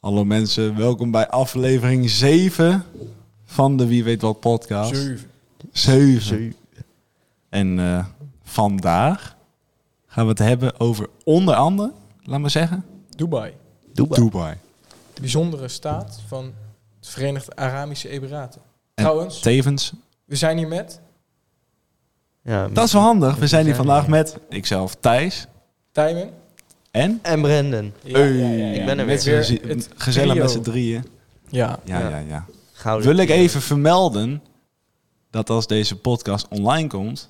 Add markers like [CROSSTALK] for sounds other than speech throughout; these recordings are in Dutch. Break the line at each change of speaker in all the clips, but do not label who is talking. Hallo mensen, welkom bij aflevering 7 van de Wie Weet Wat podcast. 7. En eh, vandaag gaan we het hebben over onder andere, laat maar zeggen,
Dubai.
Dubai.
Dubai.
De bijzondere staat van het Verenigde Arabische Emiraten.
En
Trouwens,
Tevens,
we zijn hier met
Ja,
dat is wel handig. We zijn hier
zijn
vandaag
hier.
met ikzelf, Thijs
Tijmen.
en...
En Brandon.
Ja,
Ik ben er
Met
weer.
z'n-
Weer het
Gezellig
trio.
met z'n drieën.
Ja,
Ja,
Ja.
ja, ja.
Gouden.
Wil ik even vermelden dat als deze podcast online komt,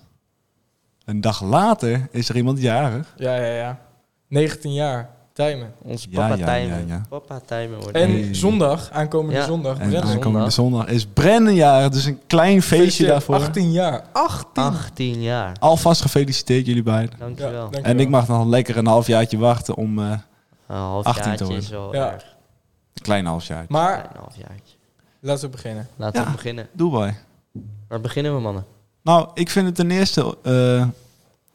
een dag later is er iemand jarig.
ja, ja, ja. 19 jaar, Tijmen.
Onze
Ja,
papa
ja,
Tijmen.
ja, ja.
Papa Tijmen wordt...
En
Hey.
zondag, aankomende
Ja.
zondag,
En
Brennan.
aankomende
aankomende zondag is Brennan jarig, dus een klein feestje, daarvoor.
18 jaar.
18 jaar.
Alvast gefeliciteerd jullie beiden.
Ja,
Dankjewel.
dankjewel.
En ik mag nog lekker een halfjaartje wachten om... eh,
Een
18 te
halfjaartje
worden.
is wel
Ja.
erg.
een klein halfjaartje.
Maar
Klein halfjaartje.
laten we beginnen.
Laten
Ja.
we beginnen.
Dubai.
Waar beginnen we, mannen?
Nou, ik vind het ten eerste eh,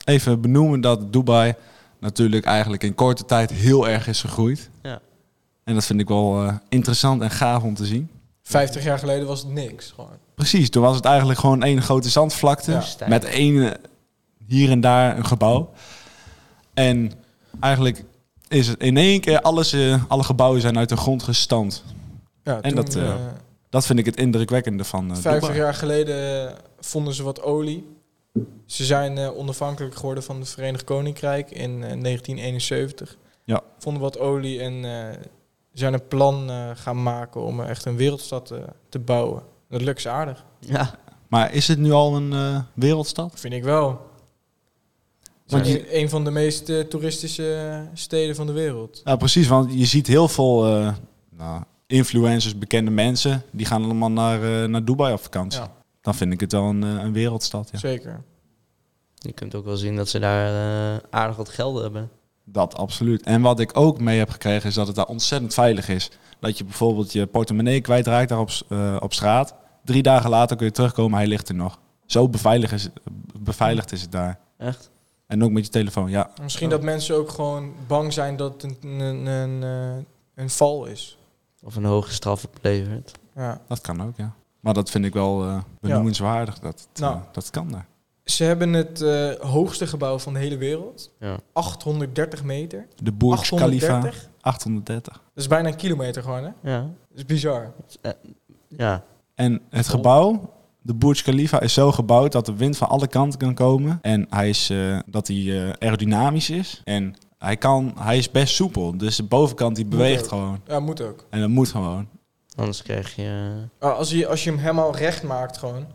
even benoemen dat Dubai natuurlijk eigenlijk in korte tijd heel erg is gegroeid.
Ja.
En dat vind ik wel eh, interessant en gaaf om te zien.
50 jaar geleden was het niks. Gewoon.
Precies, toen was het eigenlijk gewoon één grote zandvlakte.
Ja.
Stijl.
Met één eh, hier en daar een gebouw. En eigenlijk is het in één keer alles, eh, alle gebouwen zijn uit de grond gestampt.
Ja,
En dat, eh,
eh,
Dat vind ik het indrukwekkende van eh,
50
Dubai.
jaar geleden eh, vonden ze wat olie. Ze zijn eh, onafhankelijk geworden van het Verenigd Koninkrijk in eh, 1971.
Ja.
Vonden wat olie en eh, zijn een plan eh, gaan maken om eh, echt een wereldstad eh, te bouwen. Dat lukt ze aardig,
Ja.
Maar is het nu al een eh, wereldstad?
vind ik wel.
Want
Want
je-
een, een van de meest eh, toeristische steden van de wereld.
Nou, precies, want je ziet heel veel eh, nou, influencers, bekende mensen, die gaan allemaal naar, eh, naar Dubai op vakantie.
Ja.
Dan vind ik het wel een, eh, een wereldstad. Ja.
Zeker.
Je kunt ook wel zien dat ze daar eh, aardig wat geld hebben.
Dat absoluut. En wat ik ook mee heb gekregen is dat het daar ontzettend veilig is. Dat je bijvoorbeeld je portemonnee kwijtraakt daar op, s- eh, op straat. Drie dagen later kun je terugkomen, hij ligt er nog. Zo beveiligd is, beveiligd is het daar.
Echt?
En ook met je telefoon, ja.
Misschien
Oh.
dat mensen ook gewoon bang zijn dat het een, een, een, eh, een val is.
Of een hoge straf oplevert.
Ja.
Dat kan ook, ja. Maar dat vind ik wel eh, benoemenswaardig. Dat, het,
Nou.
eh, dat kan daar.
Ze hebben het eh, hoogste gebouw van de hele wereld.
Ja.
830 meter.
De Burj Khalifa,
830?
830.
Dat is bijna een kilometer gewoon, hè?
Ja.
Dat is bizar.
Ja.
En het gebouw, de Burj Khalifa, is zo gebouwd dat de wind van alle kanten kan komen. En hij is, eh, dat hij eh, aerodynamisch is. En hij, kan, hij is best soepel. Dus de bovenkant die
Moet
beweegt
ook.
gewoon.
Ja, moet ook.
En dat moet gewoon.
Anders krijg je... eh,
Ah, als, je, als je hem helemaal recht maakt gewoon,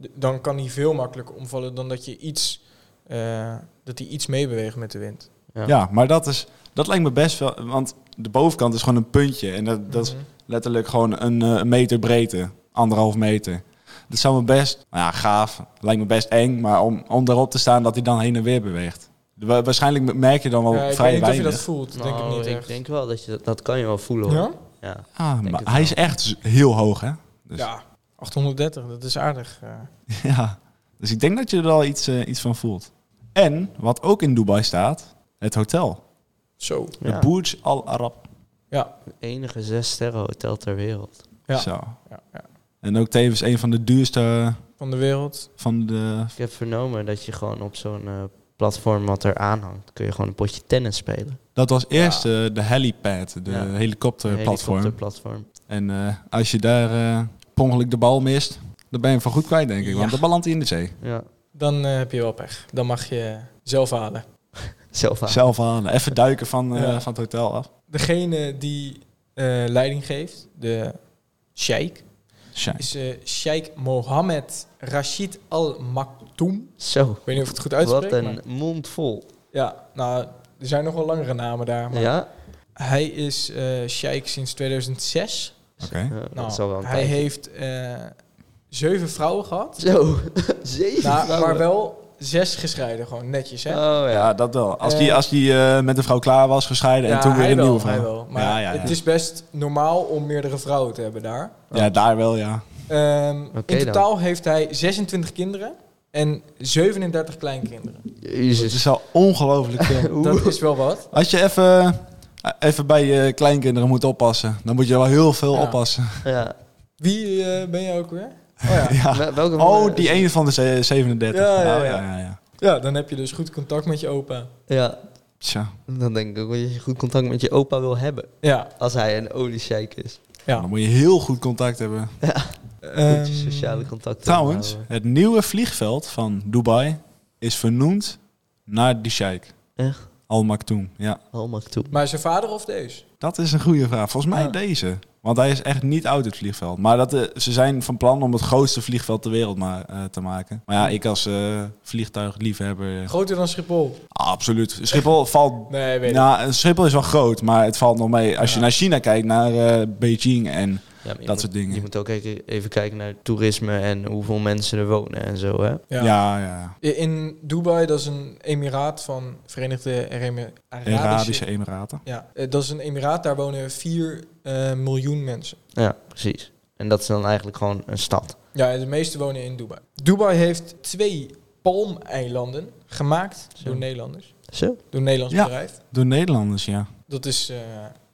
d- dan kan hij veel makkelijker omvallen dan dat je iets... eh, dat hij iets meebeweegt met de wind.
Ja.
Ja, maar dat, is, dat lijkt me best wel... Want de bovenkant is gewoon een puntje. En dat, dat is
Mhm.
letterlijk gewoon een eh, meter breedte. Anderhalf meter. Dat zou me best... nou ja, gaaf. Lijkt me best eng. Maar om, om daarop te staan dat hij dan heen en weer beweegt. Wa- Waarschijnlijk merk je dan wel
Ja, ik weet
vrij
niet of je
weinig.
dat voelt. denk ik
Nou,
niet echt.
denk wel dat je dat, dat kan je wel voelen hoor.
ja?
Ja.
Ah,
Denk
maar
het
hij
wel.
is echt z- heel hoog, hè? [LAUGHS] Dus, ja.
ja, 830. Dat is aardig. eh.
Dus ik denk dat je er al iets, eh, iets van voelt. En, wat ook in Dubai staat, het hotel.
zo.
Ja.
De Burj Al Arab.
Het enige zes sterren hotel ter wereld.
Ja.
Zo.
Ja, ja.
En ook tevens een van de duurste
Van de wereld.
van de...
Ik heb vernomen dat je gewoon op zo'n eh, platform wat er aanhangt, kun je gewoon een potje tennis spelen.
Dat was eerst eh, de helipad, de
Ja.
helikopterplatform.
Helikopterplatform.
En eh, als je daar eh per ongeluk de bal mist, dan ben je hem voor goed kwijt, denk ik.
Ja.
Want dan belandt hij in de zee.
Ja.
Dan eh, heb je wel pech. Dan mag je zelf halen.
Zelf aan.
Zelf aan. Even duiken van, eh,
Ja.
van het hotel af.
Degene die eh, leiding geeft, de sheikh,
Shai.
is eh sheikh Mohammed Rashid Al Maktoum.
Zo.
Ik weet niet of ik het goed
Wat
uitspreek. maar-
een mond vol.
Ja, nou, er zijn nog wel langere namen daar. Maar
Ja.
Hij is eh sheikh sinds 2006.
Oké.
Eh, dat
Nou,
is al wel een
hij
tijdje.
heeft eh, zeven vrouwen
[LAUGHS]
gehad,
Zo. Zeven
Nou, maar
vrouwen.
wel zes gescheiden, gewoon netjes. Hè?
Oh ja.
Ja, dat wel. Als
Eh,
die, als die eh, met een vrouw klaar was, gescheiden en
Ja,
toen weer
hij
een
wel,
nieuwe
hij
vrouw.
wel. Maar
Ja, ja, ja.
het is best normaal om meerdere vrouwen te hebben daar.
Ja, daar wel, ja.
Ehm,
Oké
in
dan.
totaal heeft hij 26 kinderen en 37 kleinkinderen.
[LAUGHS]
Het
[LAUGHS]
Jezus.
is al ongelooflijk veel.
Oeh.
Dat is wel wat.
Als je even Eh, Even bij je kleinkinderen moet oppassen. Dan moet je wel heel veel
Ja.
oppassen.
Ja.
Wie eh, ben jij ook weer? Oh
[LAUGHS]
ja.
Ja.
Wel- Welke
Oh, die ene van de ze- 37.
eh, Ja, ja,
Oh,
ja.
ja, ja.
ja, dan heb je dus goed contact met je opa.
Ja,
Tja,
dan denk ik ook dat je goed contact met je opa wil hebben.
Ja.
Als hij een oliescheik is.
ja.
dan moet je heel goed contact hebben.
Moet
Ehm,
je sociale contacten
Trouwens,
houden.
het nieuwe vliegveld van Dubai is vernoemd naar die sheik.
Echt?
Al Maktoum, ja.
Halmak toe.
Maar zijn vader of deze?
Dat is een goede vraag. Volgens mij
Ja.
deze. Want hij is echt niet oud, het vliegveld. Maar dat, eh, ze zijn van plan om het grootste vliegveld ter wereld maar, eh, te maken. Maar ja, ik als eh, vliegtuigliefhebber...
Groter dan Schiphol?
Ah, absoluut. Schiphol valt...
Nee, weet ik
Nou, Schiphol is wel groot, maar het valt nog mee. Als je
Ja.
naar China kijkt, naar eh, Beijing en...
Ja, maar je
Dat
moet-
soort dingen.
Je moet ook even even kijken naar toerisme en hoeveel mensen er wonen en zo, hè?
Ja,
Ja.
ja.
In Dubai, dat is een emiraat van Verenigde Arabische...
Arabische Emiraten.
Ja, eh, dat is een emiraat. Daar wonen 4 eh, miljoen mensen.
Ja, precies. En dat is dan eigenlijk gewoon een stad.
Ja, de meeste wonen in Dubai. Dubai heeft twee palmeilanden gemaakt
Zo.
door Nederlanders.
Zo?
Door een Nederlands
Ja.
bedrijf.
Door Nederlanders, ja.
Dat is eh,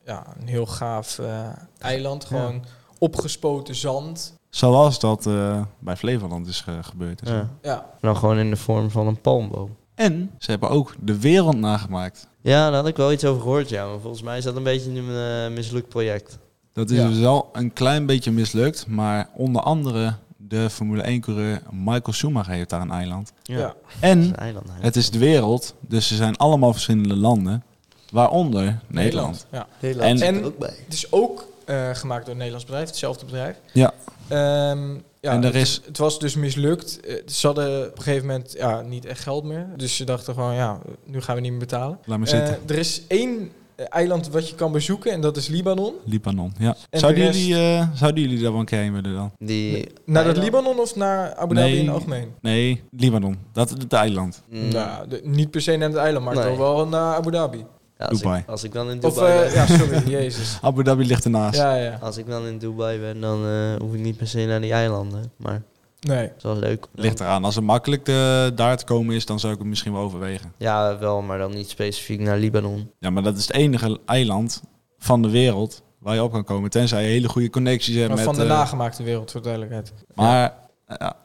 ja, een heel gaaf eh, eiland. Gewoon opgespoten zand.
Zoals dat eh, bij Flevoland is eh, gebeurd. en zo.
Ja.
Ja,
Dan gewoon in de vorm van een palmboom.
En ze hebben ook de wereld nagemaakt.
Ja, daar had ik wel iets over gehoord, ja. Maar volgens mij is dat een beetje een eh, mislukt project.
Dat is
Ja.
dus wel een klein beetje mislukt, maar onder andere de Formule 1-coureur Michael Schumacher heeft daar een eiland.
ja.
Ja,
En
een eiland. hè.
het is de wereld, dus ze zijn allemaal verschillende landen, waaronder Nederland.
Ja.
Nederland
zit er En-
ook bij.
Het is ook eh, gemaakt door een Nederlands bedrijf. Hetzelfde bedrijf.
Ja.
Ehm, ja,
En er
het,
is-
het was dus mislukt. Eh, Ze hadden op een gegeven moment ja, niet echt geld meer. Dus ze dachten gewoon, ja, nu gaan we niet meer betalen.
Laat maar
Eh,
zitten.
er is één eh, eiland wat je kan bezoeken en dat is Libanon.
Libanon, ja.
En
Zouden,
de rest-
jullie, eh, zouden jullie daar wel een keer heen willen dan?
Die...
Naar dat
Eiland.
Libanon of naar Abu Dhabi
Nee.
in het algemeen?
Nee, Libanon. Dat is het eiland.
Mm,
Nou, de- niet per se naar het eiland, maar
Nee.
toch wel naar Abu Dhabi.
ja, als
Dubai.
Ik, als ik dan in
Of,
Dubai
eh,
ben,
ja, sorry, [LAUGHS] jezus.
Abu Dhabi ligt ernaast.
Ja, ja.
Als ik dan in Dubai ben, dan eh, hoef ik niet per se naar die eilanden. Maar
Nee.
het is wel leuk.
Ligt eraan. Als het makkelijk eh, daar te komen is, dan zou ik het misschien wel overwegen.
Ja, wel, maar dan niet specifiek naar Libanon.
Ja, maar dat is het enige eiland van de wereld waar je op kan komen. Tenzij je hele goede connecties hebt
Maar
met...
van de
eh,
nagemaakte wereld, voor duidelijkheid.
Maar eh, ja,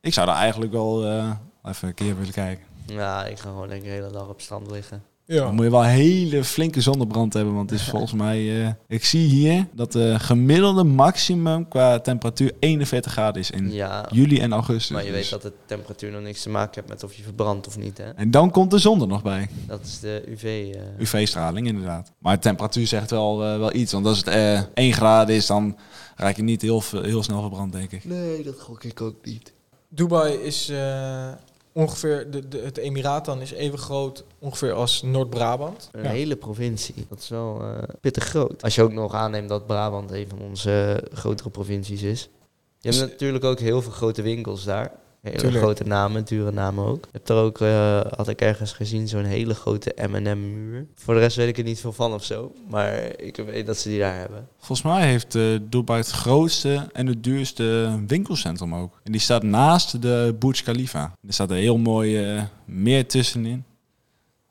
ik zou daar eigenlijk wel eh, even een keer willen kijken.
Ja, ik ga gewoon denk ik de hele dag op strand liggen.
Ja.
Dan moet je wel hele flinke zonnebrand hebben. Want het is volgens mij... eh, ik zie hier dat de gemiddelde maximum qua temperatuur 41 graden is in
Ja,
juli en augustus.
maar je
Dus-
weet dat de temperatuur nog niks te maken heeft met of je verbrandt of niet, hè?
En dan komt de zon er nog bij.
Dat is de UV. eh.
UV-straling inderdaad. Maar de temperatuur zegt wel, eh, wel iets. Want als het eh 1 graden is, dan raak je niet heel, veel- heel snel verbrand, denk ik.
Nee, dat gok ik ook niet.
Dubai is eh, ongeveer, de, de, het Emiraat dan is even groot ongeveer als Noord-Brabant.
Een
Ja.
hele provincie. Dat is wel eh, pittig groot. Als je ook nog aanneemt dat Brabant een van onze eh, grotere provincies is. Je hebt
Dus-
natuurlijk ook heel veel grote winkels daar. Hele
Tuurlijk.
grote namen, dure namen ook. Je hebt er ook, eh, had ik ergens gezien, zo'n hele grote M&M-muur. Voor de rest weet ik er niet veel van of zo. Maar ik weet dat ze die daar hebben.
Volgens mij heeft eh Dubai het grootste en het duurste winkelcentrum ook. En die staat naast de Burj Khalifa. Er staat een heel mooi eh, meer tussenin.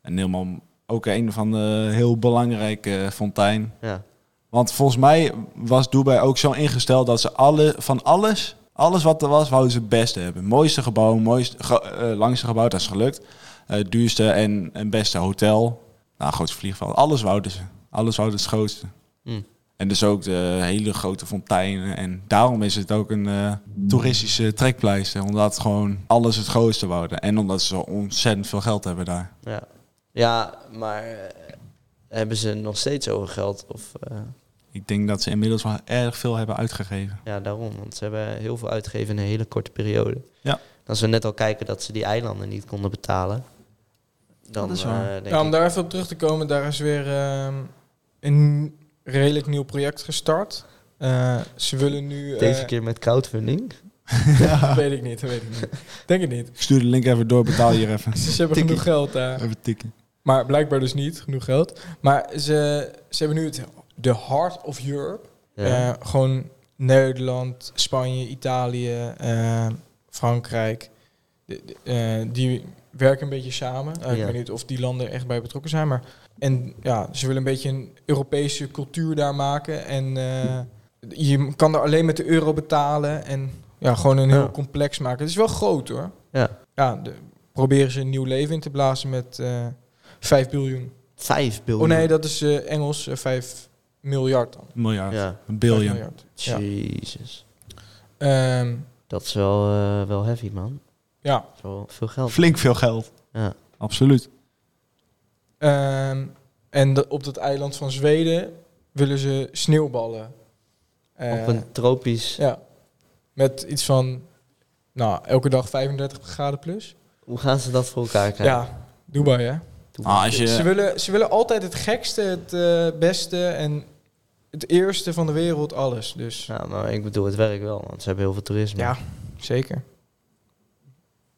En helemaal ook een van de heel belangrijke eh, fontein.
Ja.
Want volgens mij was Dubai ook zo ingesteld dat ze alle, van alles, alles wat er was, wouden ze het beste hebben. Mooiste gebouw, mooiste, ge- eh, langste gebouw, dat is gelukt. Eh, duurste en, en beste hotel. Nou, grootste vliegveld. Alles wouden ze. Alles wouden ze het grootste.
Hm.
En dus ook de hele grote fonteinen. En daarom is het ook een eh, toeristische trekpleister. Omdat gewoon alles het grootste wouden. En omdat ze zo ontzettend veel geld hebben daar.
Ja, ja maar eh, hebben ze nog steeds over geld? Of, eh,
Ik denk dat ze inmiddels wel erg veel hebben uitgegeven.
ja, daarom. Want ze hebben heel veel uitgegeven in een hele korte periode.
Ja.
Als we net al kijken dat ze die eilanden niet konden betalen. Dan,
Dat is waar.
eh, denk
Ja, om
ik-
daar even op terug te komen, daar is weer ehm, een redelijk nieuw project gestart. Eh, ze willen nu... eh,
Deze keer met crowdfunding.
Dat [LAUGHS] weet ik niet, dat weet ik niet. Denk het niet.
Ik stuur de link even door, betaal hier even.
Ze hebben
Tikkie.
genoeg geld eh. daar.
Even tikken.
Maar blijkbaar dus niet, genoeg geld. Maar ze, ze hebben nu het, de Heart of Europe.
Ja.
Eh, gewoon Nederland, Spanje, Italië, eh, Frankrijk. De- de- eh, die werken een beetje samen. Uh, Ik
Ja.
weet niet of die landen echt bij betrokken zijn. Maar, en ja, ze willen een beetje een Europese cultuur daar maken. En eh, je kan er alleen met de euro betalen. En ja, gewoon een heel
Ja.
complex maken. Het is wel groot hoor.
Ja.
Ja, de- proberen ze een nieuw leven in te blazen met eh 5 biljoen.
5 biljoen.
Oh nee, dat is eh, Engels eh, 5 miljard dan.
Miljard.
Ja,
Een
5
biljoen.
miljard. Ja.
jezus.
Ehm,
Dat is wel, eh, wel heavy, man.
ja.
Dat is wel veel geld.
Flink veel geld.
Ja.
Absoluut.
Ehm, en dat- op dat eiland van Zweden willen ze sneeuwballen. Eh,
Op een tropisch...
Ja. Met iets van, nou, elke dag 35 graden plus.
Hoe gaan ze dat voor elkaar
Ja,
krijgen?
Dubai hè.
Doe
Ah,
maar.
als je-
Ze, willen, ze willen altijd het gekste, het eh, beste en het eerste van de wereld, alles. Dus
Ja, maar ik bedoel, het werkt wel, want ze hebben heel veel toerisme.
Ja. zeker.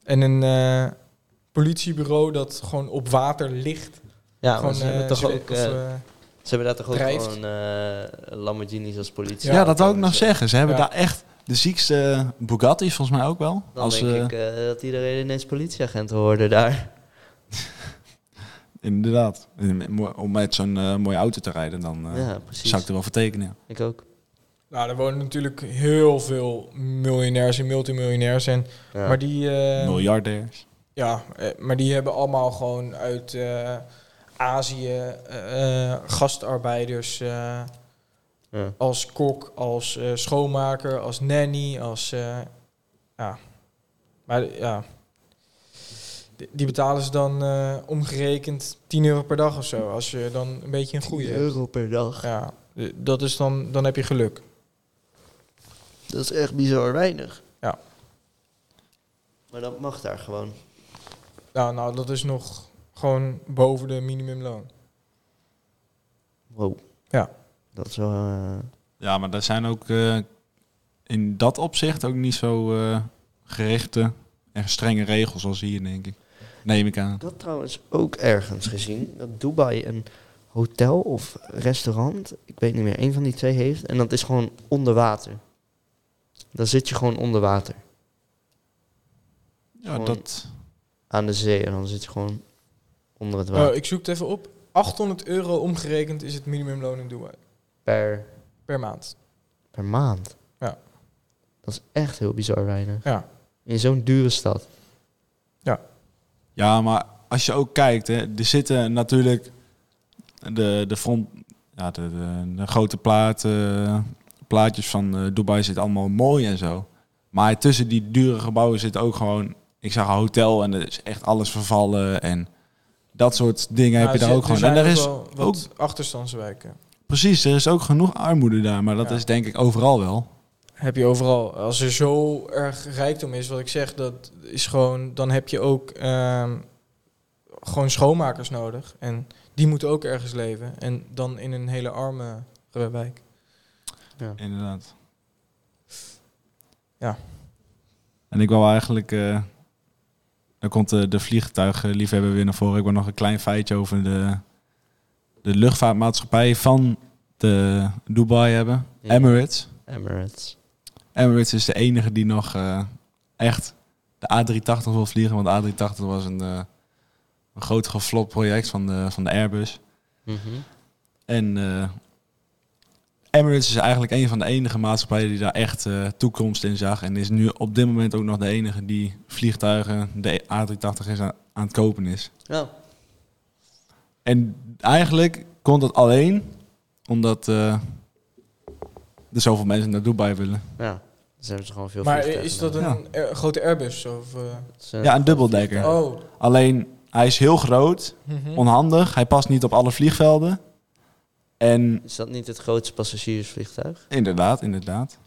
En een eh, politiebureau dat gewoon op water ligt.
Ja, maar
Gewoon
ze
eh,
hebben toch
Zweed-
ook...
of,
eh,
eh,
Ze hebben daar toch ook
drijft.
gewoon eh, Lamborghinis als politie.
Ja, dat wou ik nog zeggen. Ze hebben
Ja.
daar echt de ziekste Bugatti's volgens mij ook wel.
Dan
Als,
denk
eh,
ik eh, dat iedereen ineens politieagent hoorde daar.
Inderdaad. Om met zo'n eh, mooie auto te rijden, dan eh,
ja, precies.
zou ik er wel voor tekenen. ja.
Ik ook.
Nou, er wonen natuurlijk heel veel miljonairs en multimiljonairs. En,
Ja.
Maar die... eh,
Miljardairs.
Ja, eh, maar die hebben allemaal gewoon uit eh, Azië eh, eh, gastarbeiders eh,
Ja.
als kok, als eh, schoonmaker, als nanny, als... eh, ja, maar ja... Die- Die betalen ze dan eh, omgerekend 10 euro per dag of zo. Als je dan een beetje een goede hebt.
euro per dag.
Ja, eh, dat is dan, dan heb je geluk.
Dat is echt bizar weinig.
Ja.
Maar dat mag daar gewoon.
Nou, nou, dat is nog gewoon boven de minimumloon.
Wow.
Ja.
Dat is wel... eh,
Ja, maar daar zijn ook eh, in dat opzicht ook niet zo eh, gerichte en strenge regels als hier, denk ik. Neem ik aan.
Ik had trouwens ook ergens gezien dat Dubai een hotel of restaurant, ik weet niet meer, een van die twee heeft. En dat is gewoon onder water. Dan zit je gewoon onder water
Ja,
Gewoon-
dat...
aan de zee en dan zit je gewoon onder het water
Oh, ik zoek het even op. 800 euro omgerekend is het minimumloon in Dubai.
per,
Per maand.
per maand.
Oh. Ja.
Dat is echt heel bizar weinig.
Ja.
In zo'n dure stad.
Ja, maar als je ook kijkt, hè, er zitten natuurlijk de, de front, ja, de, de, de grote platen, plaatjes van eh, Dubai zitten allemaal mooi en zo. Maar tussen die dure gebouwen zit ook gewoon, ik zag een hotel en er is echt alles vervallen en dat soort dingen heb je daar ook gewoon. En er is
dus wel wat achterstandswijken.
precies, er is ook genoeg armoede daar, maar dat
Ja.
is denk ik overal wel.
Heb je overal. Als er zo erg rijkdom is, wat ik zeg, dat is gewoon. Dan heb je ook ehm, gewoon schoonmakers nodig. En die moeten ook ergens leven. En dan in een hele arme wijk.
Inderdaad.
Ja.
En ik wou eigenlijk... eh dan komt de, de vliegtuigliefhebber weer naar voren. Ik wil nog een klein feitje over de, de luchtvaartmaatschappij van de Dubai hebben.
Ja.
Emirates.
Emirates.
Emirates is de enige die nog eh, echt de A380 wil vliegen. Want de A380 was een, eh, een groot geflopt project van de, van de Airbus.
Mhm.
En eh, Emirates is eigenlijk een van de enige maatschappijen die daar echt eh, toekomst in zag. En is nu op dit moment ook nog de enige die vliegtuigen, de A380 is aan, aan het kopen is.
Ja.
En eigenlijk kon dat alleen omdat eh, er zoveel mensen naar Dubai willen.
ja. Dus hebben ze gewoon veel
Maar
vliegtuigen
is dat een
nodig.
eh, grote Airbus? Of, eh,
nodig. Ze-
Ja, een dubbeldekker.
Oh.
Alleen hij is heel groot,
mhm.
onhandig, hij past niet op alle vliegvelden. En
Is dat niet het grootste passagiersvliegtuig?
inderdaad, inderdaad.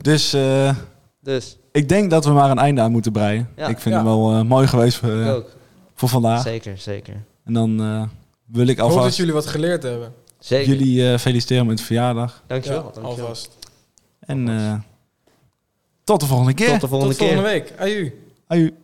Dus eh,
Dus,
Ik denk dat we maar een einde aan moeten breien.
Ja.
ik vind
Ja.
hem wel eh, mooi geweest voor, eh,
ik ook.
voor vandaag.
Zeker, zeker.
En dan eh, wil ik
Ik hoop dat
alvast jullie,
jullie wat geleerd hebben.
Zeker.
eh, feliciteren met de verjaardag.
Dankjewel.
Ja,
dankjewel.
alvast.
En
Alvast.
eh, tot de volgende keer.
Tot de volgende
Tot volgende
keer.
week. Aju.
Aju.